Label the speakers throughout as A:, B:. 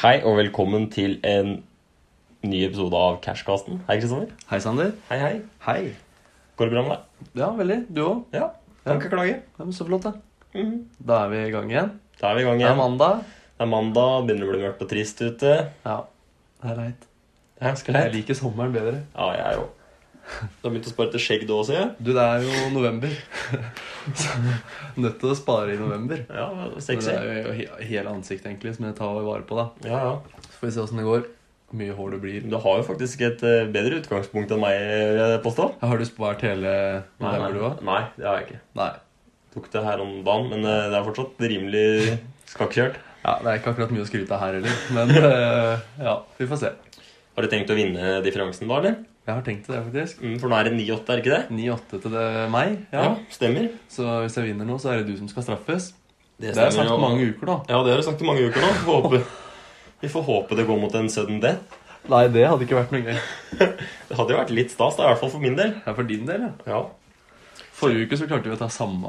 A: Hei og velkommen til en ny episode av Cashcasten. Hei, Kristoffer.
B: Hei, Sander.
A: Hei, hei.
B: Hei.
A: Går det bra med deg?
B: Ja, veldig. Du òg?
A: Ja. Kan ikke klage.
B: Ja, men så flott, da.
A: Mhm.
B: Da er vi i gang igjen.
A: Da er vi i gang
B: Det er
A: igjen.
B: mandag.
A: Det er mandag, begynner å bli mørkt og trist ute.
B: Ja, det er leit.
A: Det er ganske
B: Jeg
A: leit.
B: liker sommeren bedre.
A: Ja, jeg er jo. Du har begynt å spare til skjegg du også, ja?
B: Du, det er jo november. så nødt til å spare i november.
A: Ja,
B: Men det
A: sexy.
B: er jo he- hele ansiktet, egentlig, som jeg tar vare på, da.
A: Ja, ja.
B: Så får vi se åssen det går. Hvor mye hår det blir.
A: Du har jo faktisk et eh, bedre utgangspunkt enn meg, vil jeg påstå.
B: Ja, Har du spart hele Nei, hvor du var?
A: Nei, det har jeg ikke.
B: Nei.
A: Tok det her om dagen, men eh, det er fortsatt rimelig skakkjørt.
B: Ja, Det er ikke akkurat mye å skryte av her heller, men eh, ja, vi får se.
A: Har du tenkt å vinne differansen da, eller?
B: Jeg har tenkt til det, faktisk.
A: Mm, For nå er det 9-8, er det ikke det?
B: 9-8 til det meg. ja.
A: stemmer.
B: Så hvis jeg vinner nå, så er det du som skal straffes. Det har
A: stemmer
B: jeg sagt
A: jo.
B: mange uker, da.
A: Ja, det har du sagt i mange uker nå. Får Håpe. Vi får håpe det går mot en sudden death.
B: Nei, det hadde ikke vært noe gøy.
A: Det hadde jo vært litt stas, da, i hvert fall for min del.
B: Det er for din del, ja.
A: Ja,
B: Forrige uke så klarte vi å ta samme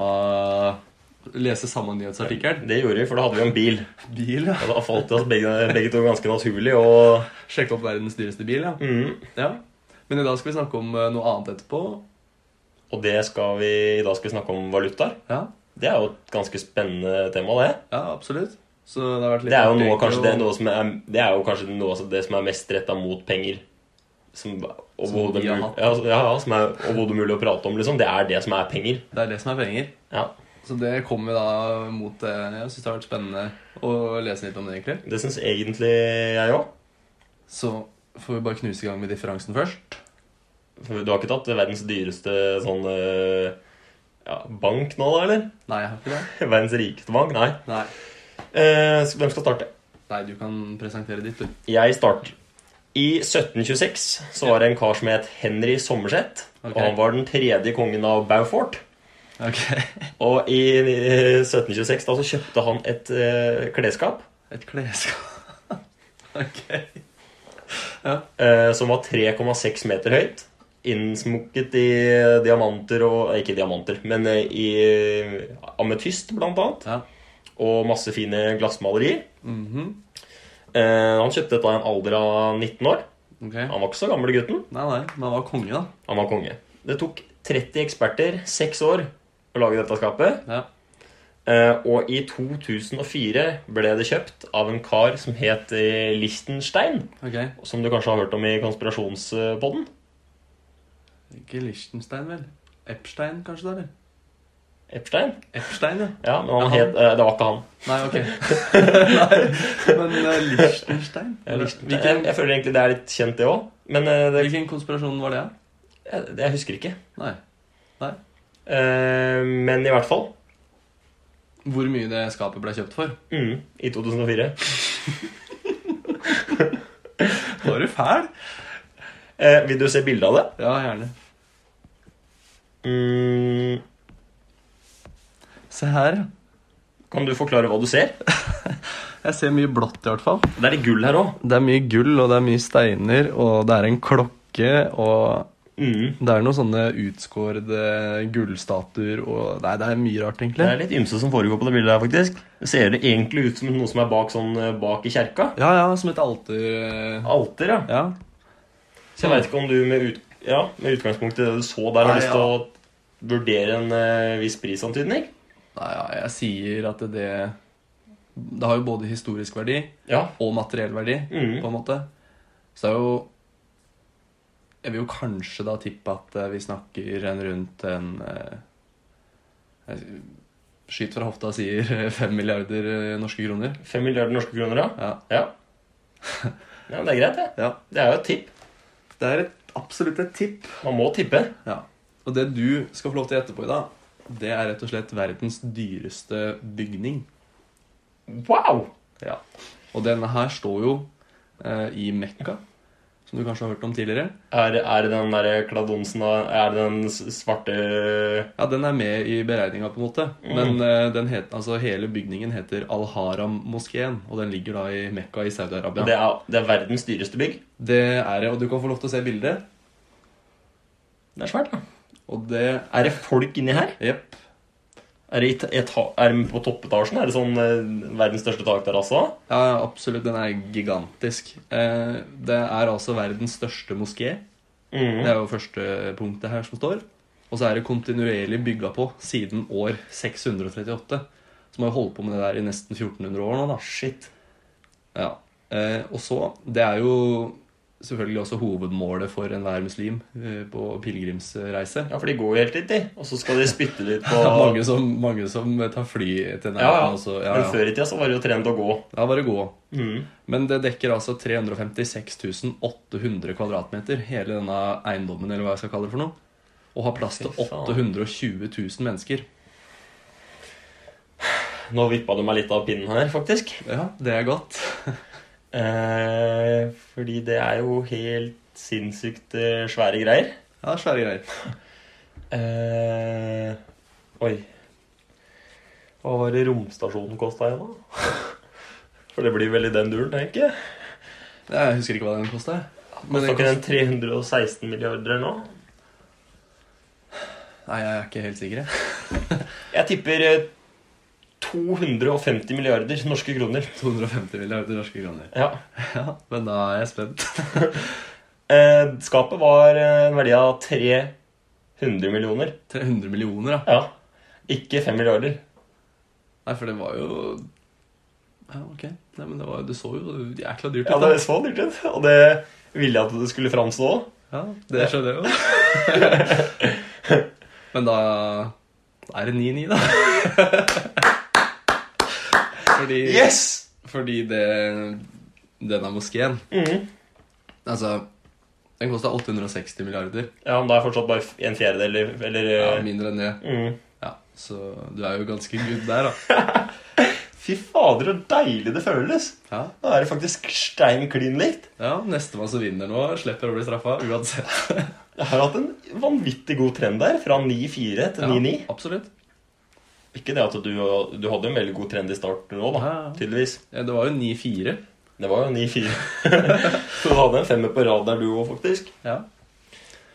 B: Lese samme nyhetsartikkel.
A: Det gjorde vi, for da hadde vi en bil.
B: Bil, ja.
A: Og da falt det oss begge, begge to ganske naturlig. Og
B: Sjekke opp verdens dyreste bil, ja.
A: Mhm.
B: ja. Men i dag skal vi snakke om eh, noe annet etterpå.
A: Og det skal vi, i dag skal vi snakke om valutaer.
B: Ja,
A: Det er jo et ganske spennende tema, det.
B: ja absolutt. Så det har vært litt
A: Det er jo
B: artig,
A: noe,
B: egentlig,
A: kanskje, det, er
B: og-
A: noe som er, det er jo kanskje noe av det som er mest retta mot penger. Som,
B: Som
A: overhodet
B: vi har
A: mul-
B: hatt.
A: ja, ja, ja, som er overhodet mulig å prate om, liksom. Det er det som er penger.
B: det er det som er penger.
A: Ja,
B: Så det kommer vi da mot det. Jeg syns det har vært spennende å lese litt om det, egentlig.
A: Det syns egentlig jeg òg.
B: Så får vi bare knuse i gang med differansen først.
A: For Du har ikke tatt verdens dyreste sånn eh, ja, bank nå, da, eller?
B: Nei, jeg har ikke det.
A: Verdens rikeste bank? Nei.
B: Nei.
A: Eh, så hvem skal starte?
B: Nei, du kan presentere ditt, du.
A: Jeg starter. I 1726 så var det en kar som het Henry Sommerseth.
B: Ok.
A: Og han var den tredje kongen av Beaufort.
B: Ok.
A: Og i eh, 1726 da så kjøpte han et eh, klesskap
B: Et klesskap. ok. Ja.
A: eh, som var 3,6 meter høyt. Innsmukket i eh, diamanter og Ikke diamanter, men eh, i eh, ametyst, blant annet.
B: ja.
A: og masse fine glassmalerier.
B: Mhm.
A: eh, han kjøpte dette i en alder av 19 år.
B: Ok.
A: Han var ikke så gammel, gutten.
B: Nei, nei, men han var konge, da.
A: Han var konge. Det tok 30 eksperter seks år å lage dette skapet.
B: Ja.
A: Eh, og i 2004 ble det kjøpt av en kar som het eh, Lichtenstein.
B: Ok.
A: Som du kanskje har hørt om i konspirasjonspodden.
B: Ikke Liechtenstein, vel? Epstein, kanskje, da? eller?
A: Epstein.
B: Epstein, ja.
A: Ja, men han
B: Ja, han.
A: het, eh, det var ikke han.
B: Nei, ok. nei, men uh, Liechtenstein?
A: Jeg,
B: Hvilken,
A: jeg føler egentlig det er litt kjent, det òg. Men eh, det,
B: hvilken konspirasjon var det? da?
A: jeg, jeg husker ikke.
B: Nei. nei.
A: Eh, men i hvert fall.
B: Hvor mye det skapet ble kjøpt for?
A: Mm, I 2004.
B: Var du fæl?
A: Eh, vil du se bilde av det?
B: Ja, gjerne.
A: Mm,
B: Se her, ja.
A: kan du forklare hva du ser?
B: Jeg ser mye blått, i hvert fall.
A: Det er litt gull her òg.
B: Det er mye gull, og det er mye steiner, og det er en klokke, og
A: Mm.
B: det er noen sånne utskårede gullstatuer, og Nei, det er mye rart,
A: Det
B: egentlig.
A: er litt ymse som foregår på det bildet her, faktisk. Det Ser det egentlig ut som noe som er bak, sånn, eh, bak i kjerka?
B: Ja, ja, som et alter eh,
A: Alter, ja.
B: Ja.
A: Så jeg veit ikke om du med, ut, ja, med utgangspunkt i det du så der, har
B: Nei,
A: lyst til å vurdere en eh, viss prisantydning?
B: Nei, ja, jeg sier at det Det har jo både historisk verdi
A: Ja.
B: og materiell verdi,
A: Mm.
B: på en måte. Så det er jo Jeg vil jo kanskje da tippe at eh, vi snakker en rundt en eh, jeg- Skyt fra hofta sier eh, fem milliarder eh, norske kroner.
A: Fem milliarder norske kroner, ja?
B: Ja.
A: Ja. ja men det er greit, det.
B: Ja,
A: Det er jo et tipp.
B: Det er et, absolutt et tipp.
A: Man må tippe.
B: Ja. Og det du skal få lov til å gjette på i dag, det er rett og slett verdens dyreste bygning.
A: Wow!
B: Ja. Og denne her står jo eh, i Mekka, som du kanskje har hørt om tidligere.
A: Er, er det den derre kladonsen av Er det den s- svarte
B: Ja, den er med i beregninga, på en måte. Men eh, den het, altså, hele bygningen heter Al-Haram-moskeen, og den ligger da i Mekka i Saudi-Arabia.
A: det, er, det er verdens dyreste bygg.
B: det er det, og du kan få lov til å se bildet.
A: Det er svært, da.
B: Og det
A: Er det folk inni her?
B: Jepp.
A: Er det, i- eta- er det på toppetasjen? Er det sånn eh, verdens største takterrasse? da?
B: Ja, absolutt. Den er gigantisk. Eh, Det er altså verdens største moské. Det
A: Mhm.
B: er jo første punktet her som står. Og så er det kontinuerlig bygga på siden år 638. Som har jo holdt på med det der i nesten 1400 år nå, da.
A: Shit.
B: Ja. Eh, og så Det er jo selvfølgelig også hovedmålet for enhver muslim eh, på pilegrimsreise.
A: Ja, for de går jo helt dit, de. Og så skal de spytte litt på
B: Det er mange, som, mange som tar fly til nærheten.
A: Ja, ja.
B: Også. ja,
A: Men
B: ja.
A: før i tida så var det jo trend å gå.
B: ja bare gå.
A: Mhm.
B: Men det dekker altså 356 800 kvadratmeter, hele denne eiendommen, eller hva jeg skal kalle det for noe. Og har plass til
A: Fy faen.
B: 820 000 mennesker.
A: Nå vippa du meg litt av pinnen her, faktisk.
B: Ja, det er godt.
A: Eh, fordi det er jo helt sinnssykt eh, svære greier.
B: Ja, svære greier.
A: Eh, oi. Hva var det romstasjonen kosta igjen, da? For det blir vel i den duren, tenker jeg.
B: Jeg husker ikke hva den kosta. Men
A: Kosta
B: den
A: ikke den
B: kost...
A: 316 milliarder nå?
B: Nei, jeg er ikke helt sikker. jeg.
A: Jeg tipper eh, 250 milliarder norske kroner.
B: 250 milliarder norske kroner.
A: Ja.
B: Ja, men da er jeg spent.
A: Eh, skapet var eh, en verdi av 300 millioner.
B: 300 millioner, da.
A: Ja. Ikke 5 milliarder.
B: Nei, for det var jo Ja, ok. Nei, men det var jo Du så jo jækla dyrt
A: Ja,
B: ut.
A: det
B: da.
A: så dyrt ut. Og det ville jeg at det skulle framstå òg.
B: Ja, det skjønner jeg jo. men da er det 9-9, da. fordi,
A: Yes!
B: fordi det Denne moskeen
A: Mm.
B: Altså, den kosta 860 milliarder.
A: Ja, men da er fortsatt bare en fjerdedel, eller- eller
B: Ja,
A: eh,
B: mindre enn det.
A: mhm.
B: Ja, så du er jo ganske good der, da.
A: Fy fader, så deilig det føles!
B: Ja,
A: Da er det faktisk stein klin likt.
B: ja Nestemann som vinner nå, slipper å bli straffa uansett.
A: Jeg har hatt en vanvittig god trend der, fra 9-4 til 9-9.
B: Ja, absolutt.
A: Ikke det at du, du hadde en veldig god trend i starten nå, da.
B: Ja, ja.
A: Tydeligvis.
B: Ja, Det var jo 9-4.
A: Det var jo 9-4. Så du hadde en femmer på rad der, du òg, faktisk.
B: Ja.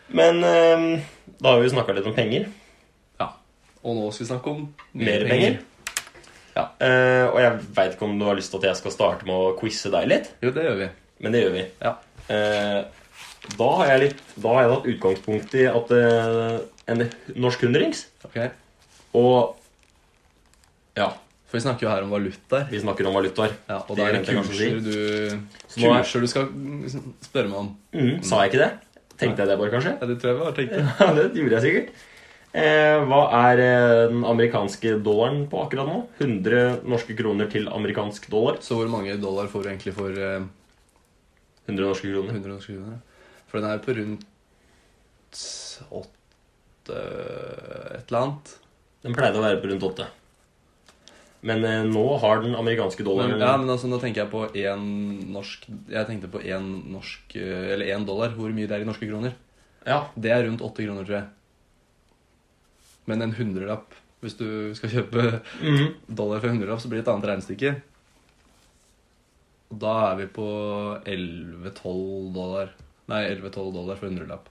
A: Men eh, da har vi jo snakka litt om penger.
B: ja. Og nå skal vi snakke om
A: Mer penger.
B: Ja.
A: Eh, og jeg veit ikke om du har lyst til at jeg skal starte med å quize deg litt,
B: Jo, det gjør vi.
A: men det gjør vi.
B: Ja.
A: Eh, da, har jeg litt, da har jeg tatt utgangspunkt i at eh, en norsk hundrings
B: Ok.
A: Og ja,
B: For vi snakker jo her om valutaer.
A: vi snakker om valutaer.
B: Ja, og
A: Det
B: da er det
A: glemte jeg kanskje å si.
B: kurser du,
A: Så nå er-
B: kurser du skal mm, spørre meg om.
A: Mm, sa jeg ikke det? Tenkte jeg det bare, kanskje?
B: Ja, det tror jeg vi har tenkt.
A: Ja, det gjorde jeg sikkert. Eh, hva er eh, den amerikanske dollaren på akkurat nå? 100 norske kroner til amerikansk dollar.
B: Så hvor mange dollar får du egentlig for eh,
A: 100 norske kroner.
B: 100 norske kroner? ja? For den er på rundt åtte et eller annet.
A: Den pleide å være på rundt 8. Men eh, nå har den amerikanske
B: Men,
A: dollaren
B: ja, men altså, nå tenker jeg på én norsk Jeg tenkte på én norsk eh, Eller én dollar. Hvor mye det er i norske kroner?
A: ja,
B: Det er rundt åtte kroner, tror jeg. Men en hundrelapp Hvis du skal kjøpe
A: mhm.
B: dollar for 100 lapp, så blir det et annet regnestykke. Og da er vi på 11-12 dollar. Nei, 11-12 dollar for 100 lapp.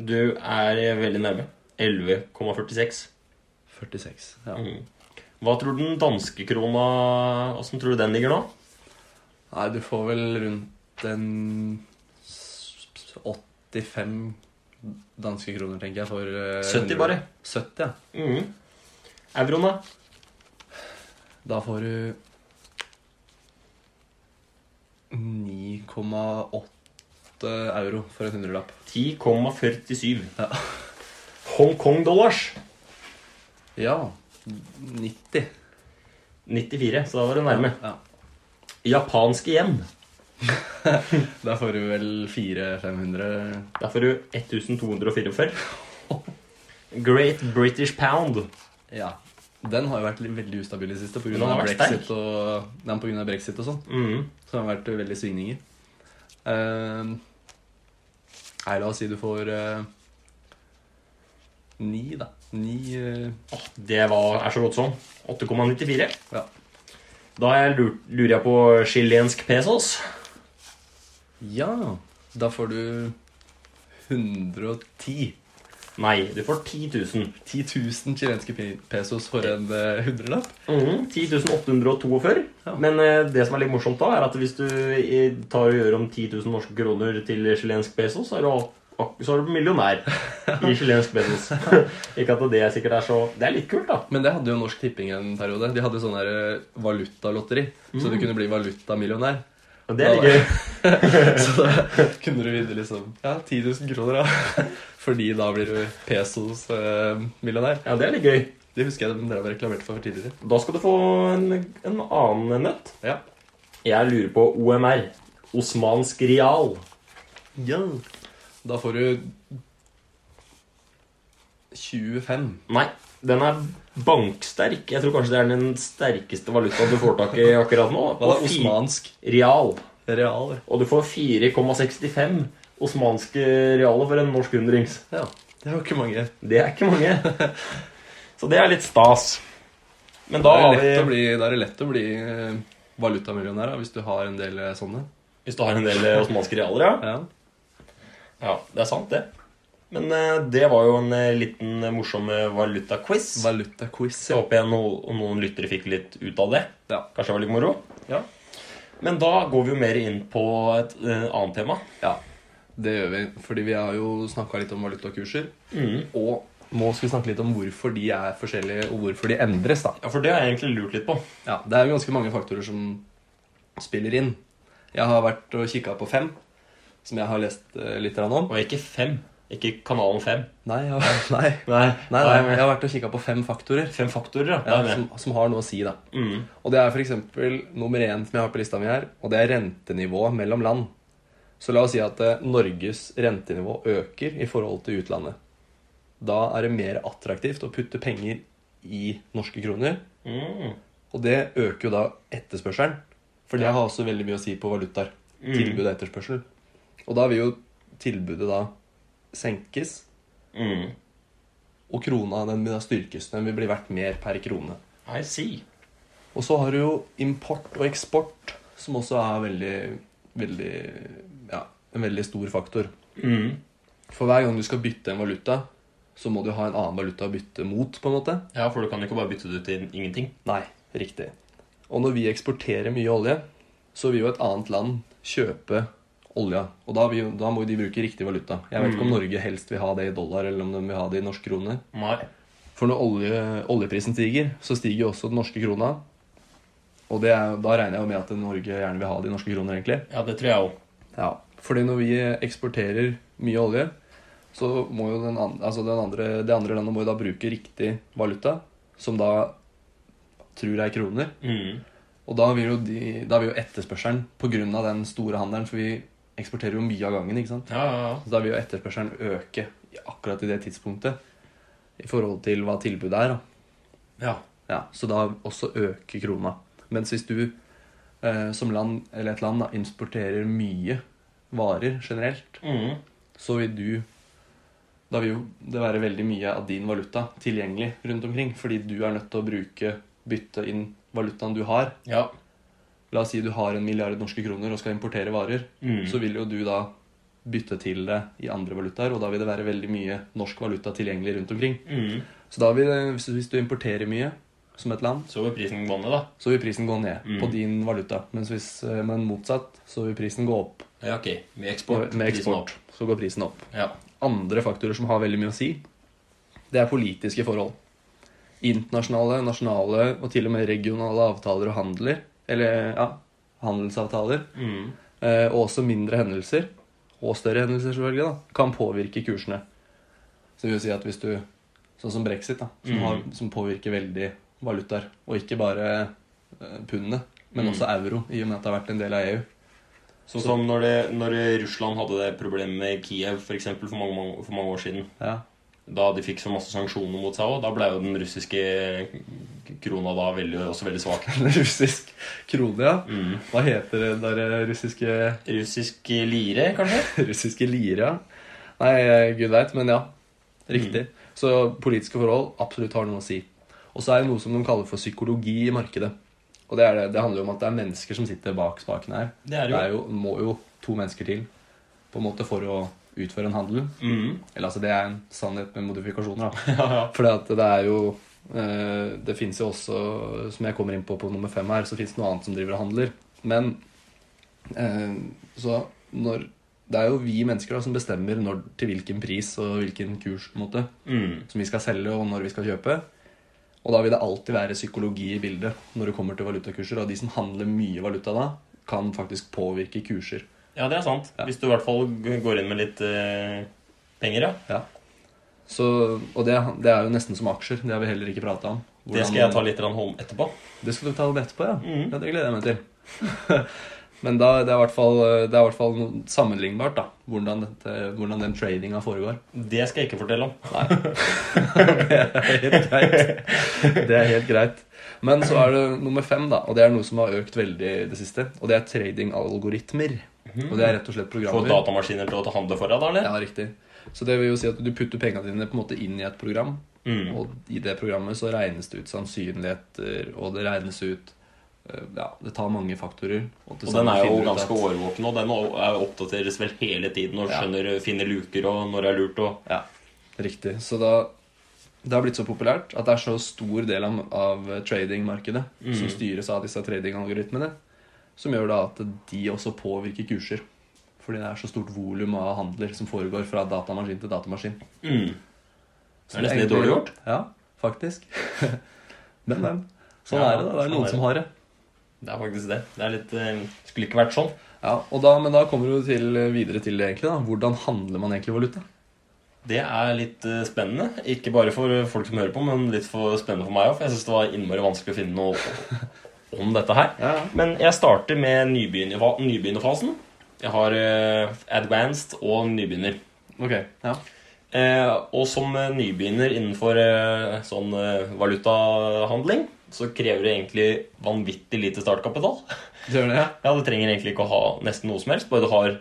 A: Du er eh, veldig nærme. 11,46.
B: 46. Ja.
A: Mhm. Hva tror du den danske krona Åssen tror du den ligger nå?
B: Nei, du får vel rundt en s- s- 85 danske kroner, tenker jeg, for eh,
A: 70
B: 100.
A: bare.
B: 70, ja.
A: Mhm. Euroen, da?
B: Da får du 9,8 euro for en hundrelapp.
A: 10,47.
B: Ja.
A: Hongkong-dollars.
B: Ja. 90.
A: 94, så da var det nærme.
B: Ja.
A: Japansk igjen.
B: Der får du vel 400-500
A: Der får du 1244. Great British Pound.
B: Ja. Den har jo vært litt- veldig ustabil i det siste
A: Den
B: pga.
A: har vært
B: brexit, og- Nei, på grunn av brexit og sånn.
A: Mhm.
B: Så det har vært veldig svingninger. Ehm, nei, la oss si du får eh, ni, da. Ni eh,
A: Åh, Det var, er så godt som. 8,94.
B: Ja.
A: Da har jeg lurt, lurer jeg på chilensk pesos.
B: ja. Da får du 110.
A: Nei, du får 10 000.
B: 10 000 chilenske pe- pesos for en eh, hundrelapp.
A: Mhm, 10.842.
B: Ja.
A: Men eh, det som er litt morsomt da, er at hvis du i- tar og gjør om 10 000 norske kroner til chilensk peso, så er du, ak- så er du millionær i chilensk pesos. Ikke at det sikkert er så Det er litt kult, da.
B: Men det hadde jo Norsk Tipping en periode. De hadde sånn der eh, valutalotteri. Så du kunne bli valutamillionær.
A: Men det er litt
B: Ja,
A: gøy.
B: Så da kunne du vinne liksom ja, 10 000 kroner, da. Fordi da blir du pesos-millionær.
A: Ja, det er litt gøy.
B: det husker jeg de drev og reklamerte for for tidligere.
A: Da skal du få en, en annen nøtt.
B: Ja.
A: Jeg lurer på OMR. Osmansk rial.
B: Da får du 25.
A: Nei, den er banksterk. Jeg tror kanskje det er den sterkeste valutaen du får tak i akkurat nå.
B: Hva da?
A: Og fi-
B: Osmansk
A: Rial.
B: real?
A: Og du får 4,65 osmanske realer for en norsk hundrings.
B: Ja. Det var ikke mange.
A: Det er ikke mange. Så det er litt stas. Men da
B: er
A: har
B: det lett å
A: vi
B: bli, da er det lett å bli eh, valutamillionær da, hvis du har en del eh, sånne.
A: Hvis du har en del eh, osmanske realer, ja.
B: Ja.
A: Ja, det er sant, det. Men eh, det var jo en eh, liten eh, morsom eh, valutaquiz.
B: Valutaquiz.
A: Så jeg håper jeg no noen lyttere fikk litt ut av det.
B: Ja.
A: Kanskje det var litt moro.
B: Ja.
A: Men da går vi jo mer inn på et eh, annet tema.
B: ja. Det gjør vi. Fordi vi har jo snakka litt om valutakurser.
A: Mhm.
B: Og må skulle snakke litt om hvorfor de er forskjellige, og hvorfor de endres. da.
A: Ja, For det har jeg egentlig lurt litt på.
B: Ja, Det er jo ganske mange faktorer som spiller inn. Jeg har vært og kikka på fem, som jeg har lest eh, litt grann om.
A: Og ikke fem. Ikke kanalen fem.
B: Nei, jeg har, nei.
A: Nei,
B: Nei, nei, jeg har vært og kikka på fem faktorer
A: Fem faktorer, ja.
B: ja,
A: Det er
B: som,
A: med.
B: som har noe å si. da.
A: Mhm.
B: Og det er f.eks. nummer én som jeg har på lista mi her, og det er rentenivået mellom land. Så la oss si at eh, Norges rentenivå øker i forhold til utlandet. Da er det mer attraktivt å putte penger i norske kroner.
A: Mhm.
B: Og det øker jo da etterspørselen. For det har også veldig mye å si på valutaer. Tilbud og etterspørsel. Og da vil jo tilbudet da senkes,
A: Mhm.
B: og krona den vil da styrkes. Den vil bli verdt mer per krone.
A: I see.
B: Og så har du jo import og eksport, som også er veldig, veldig Ja, en veldig stor faktor.
A: Mhm.
B: For hver gang du skal bytte en valuta, så må du ha en annen valuta å bytte mot, på en måte.
A: Ja, for du kan jo ikke bare bytte det ut til ingenting.
B: Nei, riktig. Og når vi eksporterer mye olje, så vil jo et annet land kjøpe olja. Og da, vil, jo- da må jo de bruke riktig valuta. Jeg vet ikke om Norge helst vil ha det i dollar, eller om de vil ha det i norske kroner.
A: Nei.
B: For når olje, oljeprisen stiger, så stiger jo også den norske krona. Og det er, da regner jeg jo med at Norge gjerne vil ha det i norske kroner, egentlig.
A: Ja, det tror jeg òg.
B: Ja, fordi når vi eksporterer mye olje, så må jo den andre, altså den andre, det andre landet må jo da bruke riktig valuta, som da tror er kroner.
A: Mhm.
B: Og da vil jo, de, da vil jo etterspørselen, pga. den store handelen For vi eksporterer jo mye av gangen. ikke sant?
A: Ja, ja, ja.
B: Så da vil jo etterspørselen øke i- akkurat i det tidspunktet i forhold til hva tilbudet er. da.
A: ja.
B: Ja, Så da også øker krona. Mens hvis du eh, som land, eller et land, da, importerer mye varer generelt,
A: Mhm.
B: så vil du Da vil jo det være veldig mye av din valuta tilgjengelig rundt omkring. Fordi du er nødt til å bruke, bytte inn valutaen du har,
A: Ja.
B: La oss si du har en milliard norske kroner og skal importere varer.
A: Mm.
B: Så vil jo du da bytte til det i andre valutaer, og da vil det være veldig mye norsk valuta tilgjengelig rundt omkring.
A: Mhm.
B: Så da vil det, hvis- hvis du importerer mye som et land,
A: Så går prisen vannet, da.
B: så vil prisen gå ned
A: Mm.
B: på din valuta. Mens hvis, eh, men motsatt, så vil prisen gå opp.
A: Ja, ok. Med eksport.
B: Med med
A: prisen
B: eksport
A: opp.
B: så går prisen opp.
A: Ja.
B: Andre faktorer som har veldig mye å si, det er politiske forhold. Internasjonale, nasjonale og til og med regionale avtaler og handler. Eller ja, handelsavtaler.
A: Mm.
B: Eh, Og også mindre hendelser, og større hendelser selvfølgelig, da, kan påvirke kursene. Så det vil si at hvis du Sånn som brexit, da, som,
A: Mm.
B: har, som påvirker veldig valutaer. Og ikke bare eh, pundet, men
A: Mm.
B: også euro, i og med at det har vært en del av E EU.
A: Sånn som når, det, når Russland hadde det problemet med Kiev for, eksempel, for, mange, mange, for mange år siden.
B: Ja,
A: Da de fikk så masse sanksjoner mot seg òg, da ble jo den russiske krona da veldig, også veldig svak.
B: Russisk krone, ja.
A: Mm.
B: Hva heter det der eh, russiske
A: Russisk lire, kanskje?
B: Russiske lire, ja. Nei, eh, gud veit, men ja.
A: Mm.
B: Riktig. Så politiske forhold absolutt har noe å si. Og så er det noe som de kaller for psykologi i markedet. Og det, er det. det handler jo om at det er mennesker som sitter bak spakene her.
A: Det er
B: Det
A: jo
B: er jo, må jo to mennesker til på en måte for å utføre en handel.
A: Mhm.
B: Eller altså, det er en sannhet med modifikasjoner, da.
A: Ja, ja.
B: For det er jo eh, Det fins jo også, som jeg kommer inn på på nummer fem her, så fins det noe annet som driver og handler. Men eh, så når Det er jo vi mennesker da som bestemmer når, til hvilken pris og hvilken kurs på en måte
A: Mhm.
B: som vi skal selge, og når vi skal kjøpe. Og da vil det alltid være psykologi i bildet når det kommer til valutakurser. Og de som handler mye valuta da, kan faktisk påvirke kurser.
A: Ja, det er sant.
B: Ja.
A: Hvis du i hvert fall g- går inn med litt eh, penger, ja.
B: Ja. Så, og det, det er jo nesten som aksjer. Det har vi heller ikke prata om.
A: Det skal jeg ta litt grann hånd etterpå.
B: Det skal du ta om etterpå, ja.
A: Mhm.
B: ja. Det gleder jeg meg til. Men da, det er i hvert fall, det er i hvert fall noe sammenlignbart, da. Hvordan, dette, hvordan den tradinga foregår.
A: Det skal jeg ikke fortelle om.
B: Nei. det er helt greit. Det er helt greit. Men så er det nummer fem, da, og det er noe som har økt veldig i det siste. Og det er tradingalgoritmer. Og det er rett og slett
A: Få
B: programmer.
A: datamaskiner til å handle for deg, da, eller?
B: Ja, riktig. Så det vil jo si at du putter pengene dine på en måte inn i et program,
A: Mm.
B: og i det programmet så regnes det ut sannsynligheter, og det regnes ut eh, Ja, det tar mange faktorer. til
A: Og den
B: sammen
A: er jo
B: finner du ut
A: ganske
B: at-
A: årvåken, og den o- er- oppdateres vel hele tiden og
B: Ja.
A: skjønner, finner luker og når det er lurt og
B: Ja, riktig. Så da det har blitt så populært at det er så stor del av, av tradingmarkedet som
A: Mm.
B: styres av disse tradingalgoritmene, som gjør da at de også påvirker kurser. Fordi det er så stort volum av handler som foregår fra datamaskin til datamaskin.
A: mm. Det
B: Så
A: er nesten litt dårlig gjort.
B: Ja, faktisk. men, men. Sånn
A: Ja,
B: er det, da. Det er
A: sånn er
B: noen som har det.
A: Det er faktisk det. Det er litt, eh, skulle ikke vært sånn.
B: Ja, og da, Men da kommer du til, eh, videre til det, egentlig. da. Hvordan handler man egentlig valuta?
A: Det er litt eh, spennende. Ikke bare for eh, folk som hører på, men litt for spennende for meg òg. For jeg syns det var innmari vanskelig å finne noe om dette her.
B: Ja, ja.
A: Men jeg starter med nybegynnerfa- nybegynnerfasen. Jeg har eh, advanced og nybegynner.
B: Ok, ja.
A: Eh, og som eh, nybegynner innenfor eh, sånn eh, valutahandling så krever det egentlig vanvittig lite startkapital.
B: Du gjør det, ja?
A: Ja, Du trenger egentlig ikke å ha nesten noe som helst, bare du har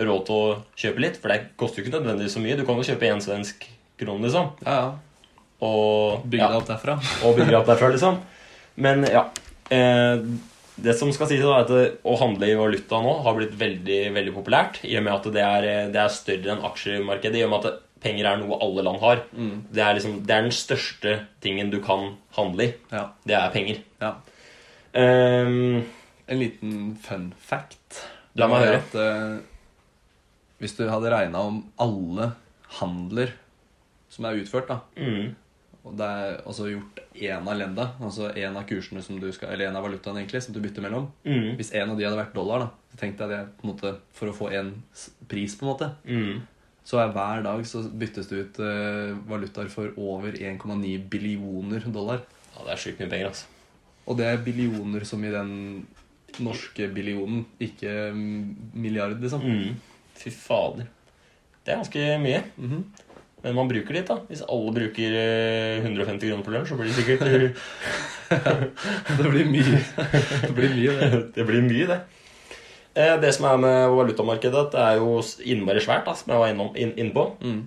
A: råd til å kjøpe litt. For det koster jo ikke nødvendigvis så mye. Du kan jo kjøpe én svensk krone, liksom.
B: Ja, ja.
A: Og
B: Bygg
A: ja
B: deg opp derfra.
A: og bygger opp derfra, liksom. Men ja. Eh, det som skal sies, da, er at det- å handle i valuta nå har blitt veldig veldig populært. I og med at det er, eh, det er større enn aksjemarkedet. I og med at det- penger er noe alle land har. Det, er liksom, det er den største tingen du kan handle i.
B: Ja,
A: Det er penger.
B: ja.
A: Eh,
B: En liten fun fact.
A: La meg
B: Det
A: høre.
B: er At, eh, hvis du hadde regna om alle handler som er utført, da,
A: mm,
B: og det er altså gjort én av lenda, altså én av kursene som du skal, eller en av valutaene egentlig, som du bytter mellom
A: mm,
B: Hvis en av de hadde vært dollar, da, så tenkte jeg det på en måte, for å få en s- pris, på en måte,
A: mm.
B: så er hver dag så byttes det ut eh, valutaer for over 1,9 billioner dollar.
A: Ja, det er sjukt mye penger, altså.
B: Og det er billioner som i den norske billionen, ikke mm, milliard, liksom.
A: Mm. Fy fader. Det er ganske mye.
B: Mhm.
A: Men man bruker litt, da. Hvis alle bruker eh, 150 kroner på lunsj, så blir det sikkert eh,
B: Det blir mye. Det blir mye, det.
A: det blir mye, det. Eh, Det som er med valutamarkedet, at det er jo s- innmari svært, da, som jeg var innom, inn, inn på,
B: Mm.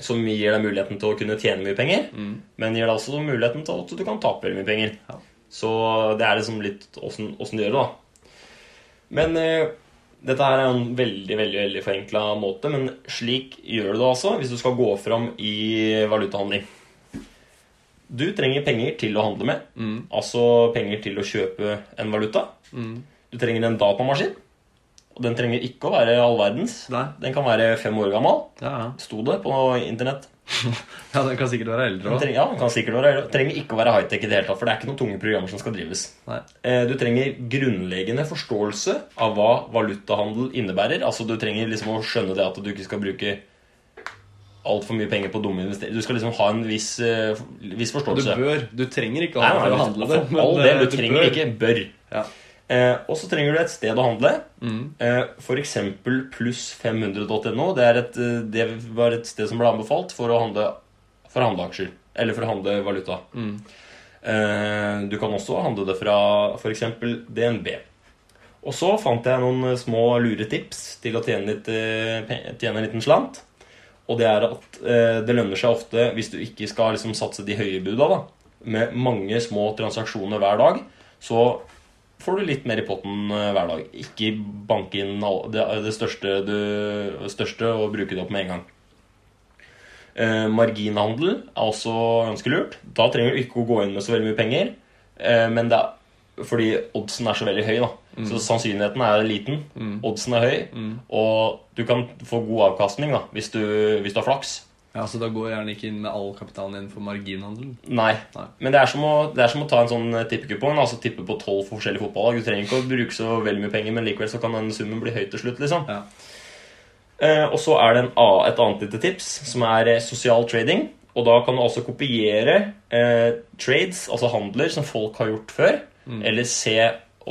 A: som gir deg muligheten til å kunne tjene mye penger,
B: Mm.
A: men gir deg også muligheten til at du kan tape veldig mye penger.
B: Ja.
A: Så det er liksom litt åssen åssen du gjør det, da. Men eh, dette her er jo en veldig veldig, veldig forenkla måte, men slik gjør du det altså hvis du skal gå fram i valutahandling. Du trenger penger til å handle med,
B: Mm.
A: altså penger til å kjøpe en valuta.
B: Mm.
A: Du trenger en datamaskin. Og den trenger ikke å være all verdens.
B: Nei.
A: Den kan være fem år gammel,
B: Ja, ja.
A: sto det på internett.
B: ja, den kan sikkert være eldre
A: Den
B: òg.
A: trenger, ja, den kan sikkert være, trenger ikke å være high-tech i det hele tatt, for det er ikke noen tunge programmer som skal drives.
B: Nei.
A: Eh, Du trenger grunnleggende forståelse av hva valutahandel innebærer. Altså Du trenger liksom å skjønne det at du ikke skal bruke altfor mye penger på dumme investeringer. Du skal liksom ha en viss, eh, viss
B: Du
A: forståelse.
B: bør. Du trenger ikke å
A: Nei,
B: ha
A: nei,
B: det for å
A: du-
B: handle det.
A: for all del,
B: eh,
A: du trenger
B: bør.
A: ikke bør.
B: Ja.
A: Eh, og så trenger du et sted å handle.
B: Mm.
A: Eh, for eksempel pluss 500.no. Det, er et, eh, det var et sted som ble anbefalt for å handle, for å handle aksjer. Eller for å handle valuta.
B: Mm.
A: Eh, du kan også handle det fra f.eks. DNB. Og så fant jeg noen eh, små lure tips til å tjene, litt, eh, pe- tjene en liten slant. Og det er at eh, det lønner seg ofte, hvis du ikke skal liksom, satse de høye buda, da, med mange små transaksjoner hver dag, så får du litt mer i potten eh, hver dag. Ikke banke inn all- det, det, største, du, det største og bruke det opp med en gang. Eh, marginhandel er også ganske lurt. Da trenger du ikke å gå inn med så veldig mye penger. Eh, men det er, fordi oddsen er så veldig høy, da. Så sannsynligheten er liten. Oddsen er høy. Og du kan få god avkastning da, hvis du, hvis du har flaks.
B: Ja, så da går jeg gjerne ikke inn med all kapitalen din for marginhandel.
A: Nei.
B: Nei.
A: Men det er, som å, det er som å ta en sånn tippekupong. Altså tippe på tolv forskjellige fotballag. Du trenger ikke å bruke så veldig mye penger, men likevel så kan den summen bli høy til slutt. liksom.
B: Ja.
A: Eh, og så er det en, a- et annet lite tips, som er eh, sosial trading. Og da kan du altså kopiere eh, trades, altså handler, som folk har gjort før. Eller se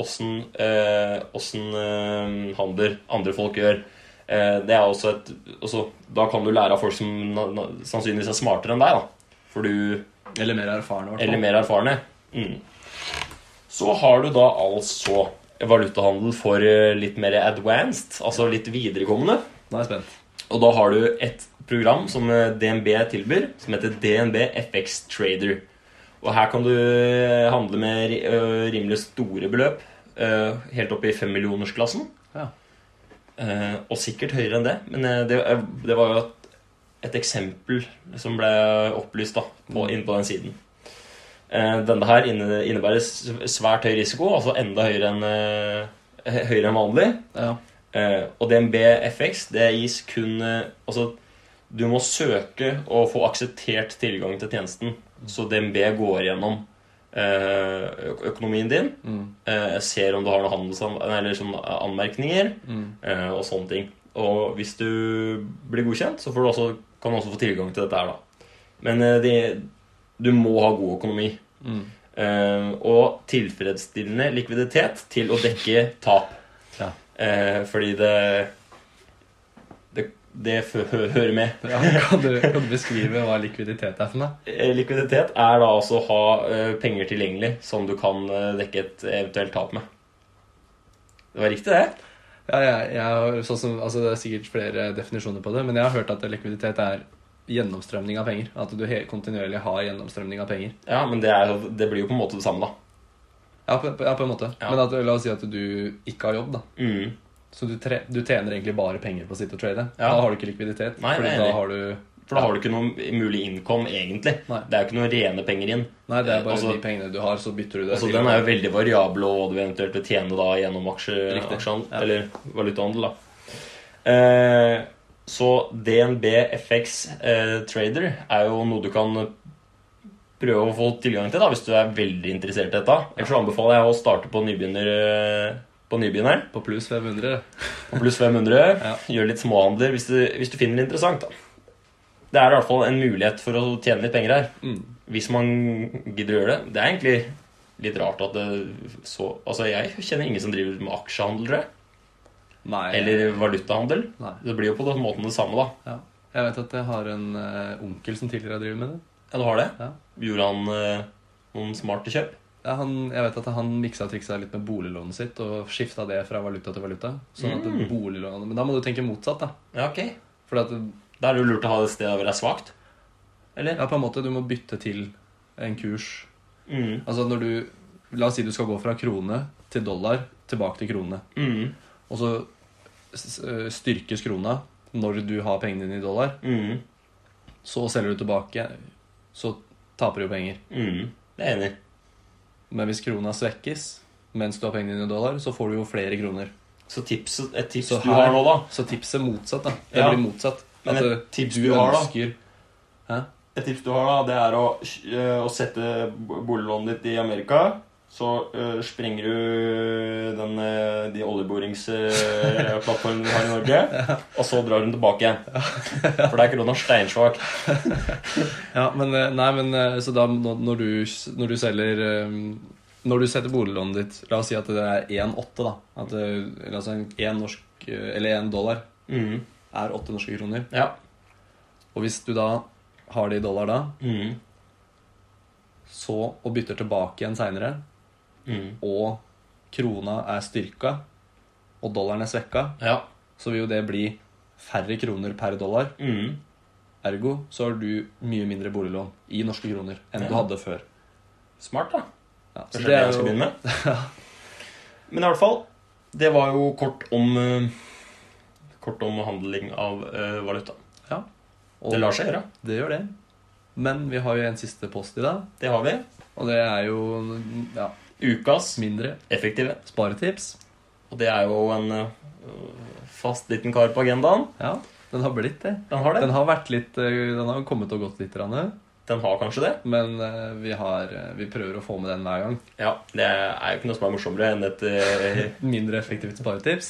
A: åssen eh, åssen, eh, handler andre folk gjør. Eh, det er også et også, Da kan du lære av folk som na, na, sannsynligvis er smartere enn deg. da. For du
B: Eller mer erfaren, i hvert
A: eller
B: fall.
A: mer erfarne. Mm. Så har du da altså valutahandel for eh, litt mer advanced, altså litt viderekommende.
B: Nå er jeg spent.
A: Og da har du et program som eh, DNB tilbyr, som heter DNB FX Trader. Og her kan du eh, handle med ri- eh, rimelig store beløp, eh, helt opp i femmillionersklassen.
B: Ja.
A: Eh, og sikkert høyere enn det, men eh, det, eh, det var jo et, et eksempel som ble opplyst da, på,
B: Mm.
A: inne på den siden. Eh, denne her inne, innebærer s- svært høy risiko, altså enda høyere enn eh, hø- høyere enn vanlig.
B: ja.
A: Eh, og DNB FX, det gis kun eh, Altså, du må søke og få akseptert tilgang til tjenesten. Så DNB går gjennom eh, ø- økonomien din,
B: Mm.
A: eh, ser om du har noen handelsam- eller sånn anmerkninger
B: Mm.
A: eh, og sånne ting. Og hvis du blir godkjent, så får du også, kan du også få tilgang til dette her, da. Men eh, det, du må ha god økonomi.
B: Mm.
A: eh, og tilfredsstillende likviditet til å dekke tap.
B: Ja.
A: Eh, fordi det Det, det fø- hø- hører med.
B: ja kan, du, kan du beskrive hva likviditet er for meg?
A: Eh, Likviditet er da altså å ha eh, penger tilgjengelig som du kan eh, dekke et eventuelt tap med. Det var riktig, det.
B: Ja, jeg, jeg har, sånn som, altså det er sikkert flere definisjoner på det, men jeg har hørt at likviditet er gjennomstrømning av penger. At du he, kontinuerlig har gjennomstrømning av penger.
A: Ja, men det, er, jo- det blir jo på en måte det samme, da.
B: Ja, på, på, ja, på en måte.
A: Ja.
B: Men at, la oss si at du ikke har jobb, da.
A: Mm.
B: Så du, tre, du tjener egentlig bare penger på å sitte og trade.
A: Ja.
B: Da har du ikke likviditet.
A: Nei,
B: fordi
A: jeg er
B: da
A: enig.
B: har du
A: For da har du ikke noe mulig innkom, egentlig.
B: Nei.
A: Det er jo ikke noen rene penger inn.
B: Nei, det er bare
A: Altså-
B: de pengene du har, så bytter du det
A: Altså, den er jo veldig variabel, og hva du eventuelt vil tjene da gjennom aksje,
B: Riktig.
A: aksjehandel,
B: Ja.
A: eller valutahandel. da. Eh, så DNB FX eh, Trader er jo noe du kan prøve å få tilgang til da, hvis du er veldig interessert i dette. Ellers så anbefaler jeg å starte på nybegynner. eh, På nybegynner,
B: På pluss 500.
A: på pluss 500.
B: Ja.
A: Gjør litt småhandler hvis du, hvis du finner det interessant. da. Det er i hvert fall en mulighet for å tjene litt penger her.
B: Mm.
A: Hvis man gidder å gjøre det Det er egentlig litt rart at det så Altså, jeg kjenner ingen som driver med aksjehandel, tror jeg.
B: Nei.
A: Eller valutahandel.
B: Nei.
A: Det blir jo på den måten det samme, da.
B: Ja. Jeg vet at jeg har en eh, onkel som tidligere har drevet med det.
A: Ja, du har det?
B: Ja.
A: Gjorde han eh, noen smarte kjøp?
B: Ja, han, jeg vet at han miksa og triksa litt med boliglånet sitt og skifta det fra valuta til valuta. Sånn at
A: Mm.
B: boliglånet, Men da må du tenke motsatt, da.
A: Ja, ok.
B: For at,
A: Da er det jo lurt å ha et sted hvor det er svakt. Eller?
B: ja, på en måte, du må bytte til en kurs.
A: Mm.
B: Altså når du La oss si du skal gå fra krone til dollar, tilbake til krone.
A: Mm.
B: Og så s- s- styrkes krona når du har pengene dine i dollar.
A: Mm.
B: Så selger du tilbake, så taper du jo penger.
A: Mm. Det er jeg enig i.
B: Men hvis krona svekkes mens du har pengene dine i dollar, så får du jo flere kroner.
A: Så tips, et tips
B: Så
A: du
B: her-
A: har nå, da
B: Så tipset er motsatt, da. Det
A: Ja.
B: blir motsatt.
A: Men
B: At
A: et
B: eh,
A: tips
B: du
A: du har, da?
B: ønsker Hæ?
A: Et tips du har, da, det er å, eh, å sette bo- boliglånet ditt i Amerika. Så eh, sprenger du den, eh, de oljeboringsplattformene vi har i Norge, og så drar hun tilbake igjen. For det er krona steinsvak.
B: Ja, men eh, Nei, men eh, så da når når du, s- når du selger eh, Når du setter boliglånet ditt La oss si at det er 1,8, da. At eh, la oss si en- en norsk eh, Eller en dollar Mm.
A: Mhm.
B: er 8 norske kroner.
A: Ja.
B: Og hvis du da har det i dollar da,
A: Mhm.
B: så og bytter tilbake igjen seinere,
A: Mhm.
B: og krona er styrka, og dollaren er svekka,
A: Ja.
B: så vil jo det bli færre kroner per dollar.
A: Mhm.
B: Ergo så har du mye mindre boliglån i norske kroner enn du
A: Ja.
B: hadde før.
A: Smart, da.
B: Ja, så
A: Kanskje
B: det
A: det
B: er
A: jeg skal
B: jo,
A: begynne med. Men i hvert fall, det var jo kort om eh, Kort om handling av eh, valuta.
B: Og
A: Det lar seg gjøre.
B: Det gjør det. Men vi har jo en siste post i dag,
A: Det har vi.
B: og det er jo ja,
A: Ukas
B: mindre
A: effektive.
B: sparetips.
A: Og det er jo en eh, fast liten kar på agendaen.
B: Ja, den har blitt det.
A: Den har det.
B: Den har vært litt eh, Den har kommet og gått litt, grann,
A: Den har kanskje det.
B: men eh, vi, har, eh, vi prøver å få med den hver gang.
A: Ja, Det er jo ikke noe som er morsommere enn et eh,
B: Mindre effektivt sparetips.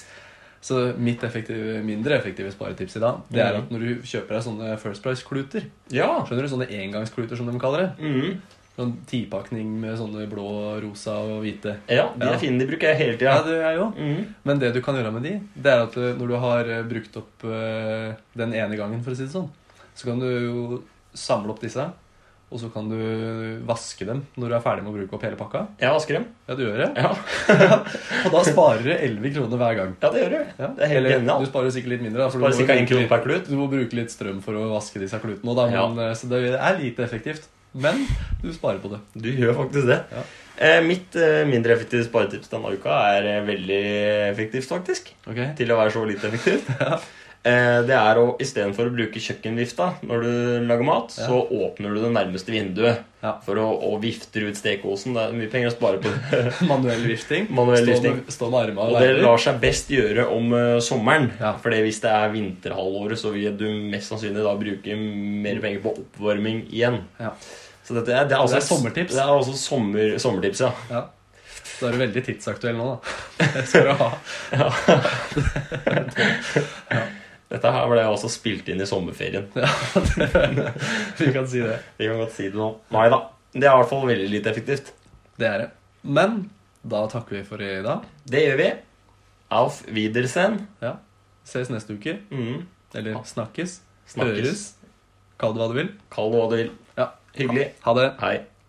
B: Så mitt effektive, mindre effektive sparetips i dag, det er at når du kjøper deg sånne First Price-kluter
A: Ja.
B: Skjønner du? Sånne engangskluter, som de kaller det.
A: Mhm.
B: Sånn tipakning med sånne blå, rosa og hvite.
A: ja, de er
B: Ja.
A: fine. De bruker jeg hele
B: Ja,
A: tida.
B: det gjør jeg òg.
A: Mhm.
B: Men det du kan gjøre med de, det er at eh, når du har eh, brukt opp eh, den ene gangen, for å si det sånn, så kan du jo samle opp disse, og så kan du vaske dem når du er ferdig med å bruke opp hele pakka.
A: Jeg vasker dem.
B: Ja, du gjør det.
A: Ja,
B: Og da sparer du 11 kroner hver gang.
A: ja det gjør du.
B: Ja.
A: Det er helt
B: Eller,
A: genialt.
B: Du sparer sikkert litt mindre, da, for
A: Bare
B: du, må
A: ca. én
B: jo
A: krone
B: bruke,
A: per klut.
B: litt- du må bruke litt strøm for å vaske disse klutene. Og da,
A: Ja.
B: men, eh, så det er lite effektivt. Men du sparer på det.
A: Du gjør faktisk det.
B: Ja.
A: Eh, mitt eh, mindre effektive sparetips denne uka er eh, veldig effektivt, faktisk.
B: Ok?
A: Til å være så lite effektivt. Eh, det er å istedenfor å bruke kjøkkenvifta når du lager mat,
B: Ja.
A: så åpner du det nærmeste vinduet
B: Ja.
A: for å, å vifte ut stekeosen. Det er mye penger å spare på det.
B: Manuell vifting.
A: Manuell
B: stå,
A: vifting.
B: Med, stå med armene
A: Og
B: og
A: det
B: være-
A: lar seg best gjøre om eh, sommeren.
B: Ja.
A: For hvis det er vinterhalvåret, så vil du mest sannsynlig da bruke mer penger på oppvarming igjen.
B: Ja.
A: Så dette er, det er,
B: Det
A: altså,
B: er sommertips.
A: Det er altså sommer, sommertips, ja.
B: Ja. Da er du veldig tidsaktuell nå, da. Det skal du ha.
A: Dette her ble altså spilt inn i sommerferien.
B: Vi kan si det.
A: Vi kan godt si det nå. Nei da. Det er i hvert fall veldig lite effektivt.
B: Det er det. Men da takker vi for i dag.
A: Det gjør vi. Auf Wiedersehen.
B: Ja. Ses neste uke.
A: Mm.
B: Eller snakkes.
A: Snakkes.
B: Høres. Kall det hva du vil.
A: Kall det hva du vil.
B: Ja.
A: Hyggelig.
B: Ha det.
A: Hei.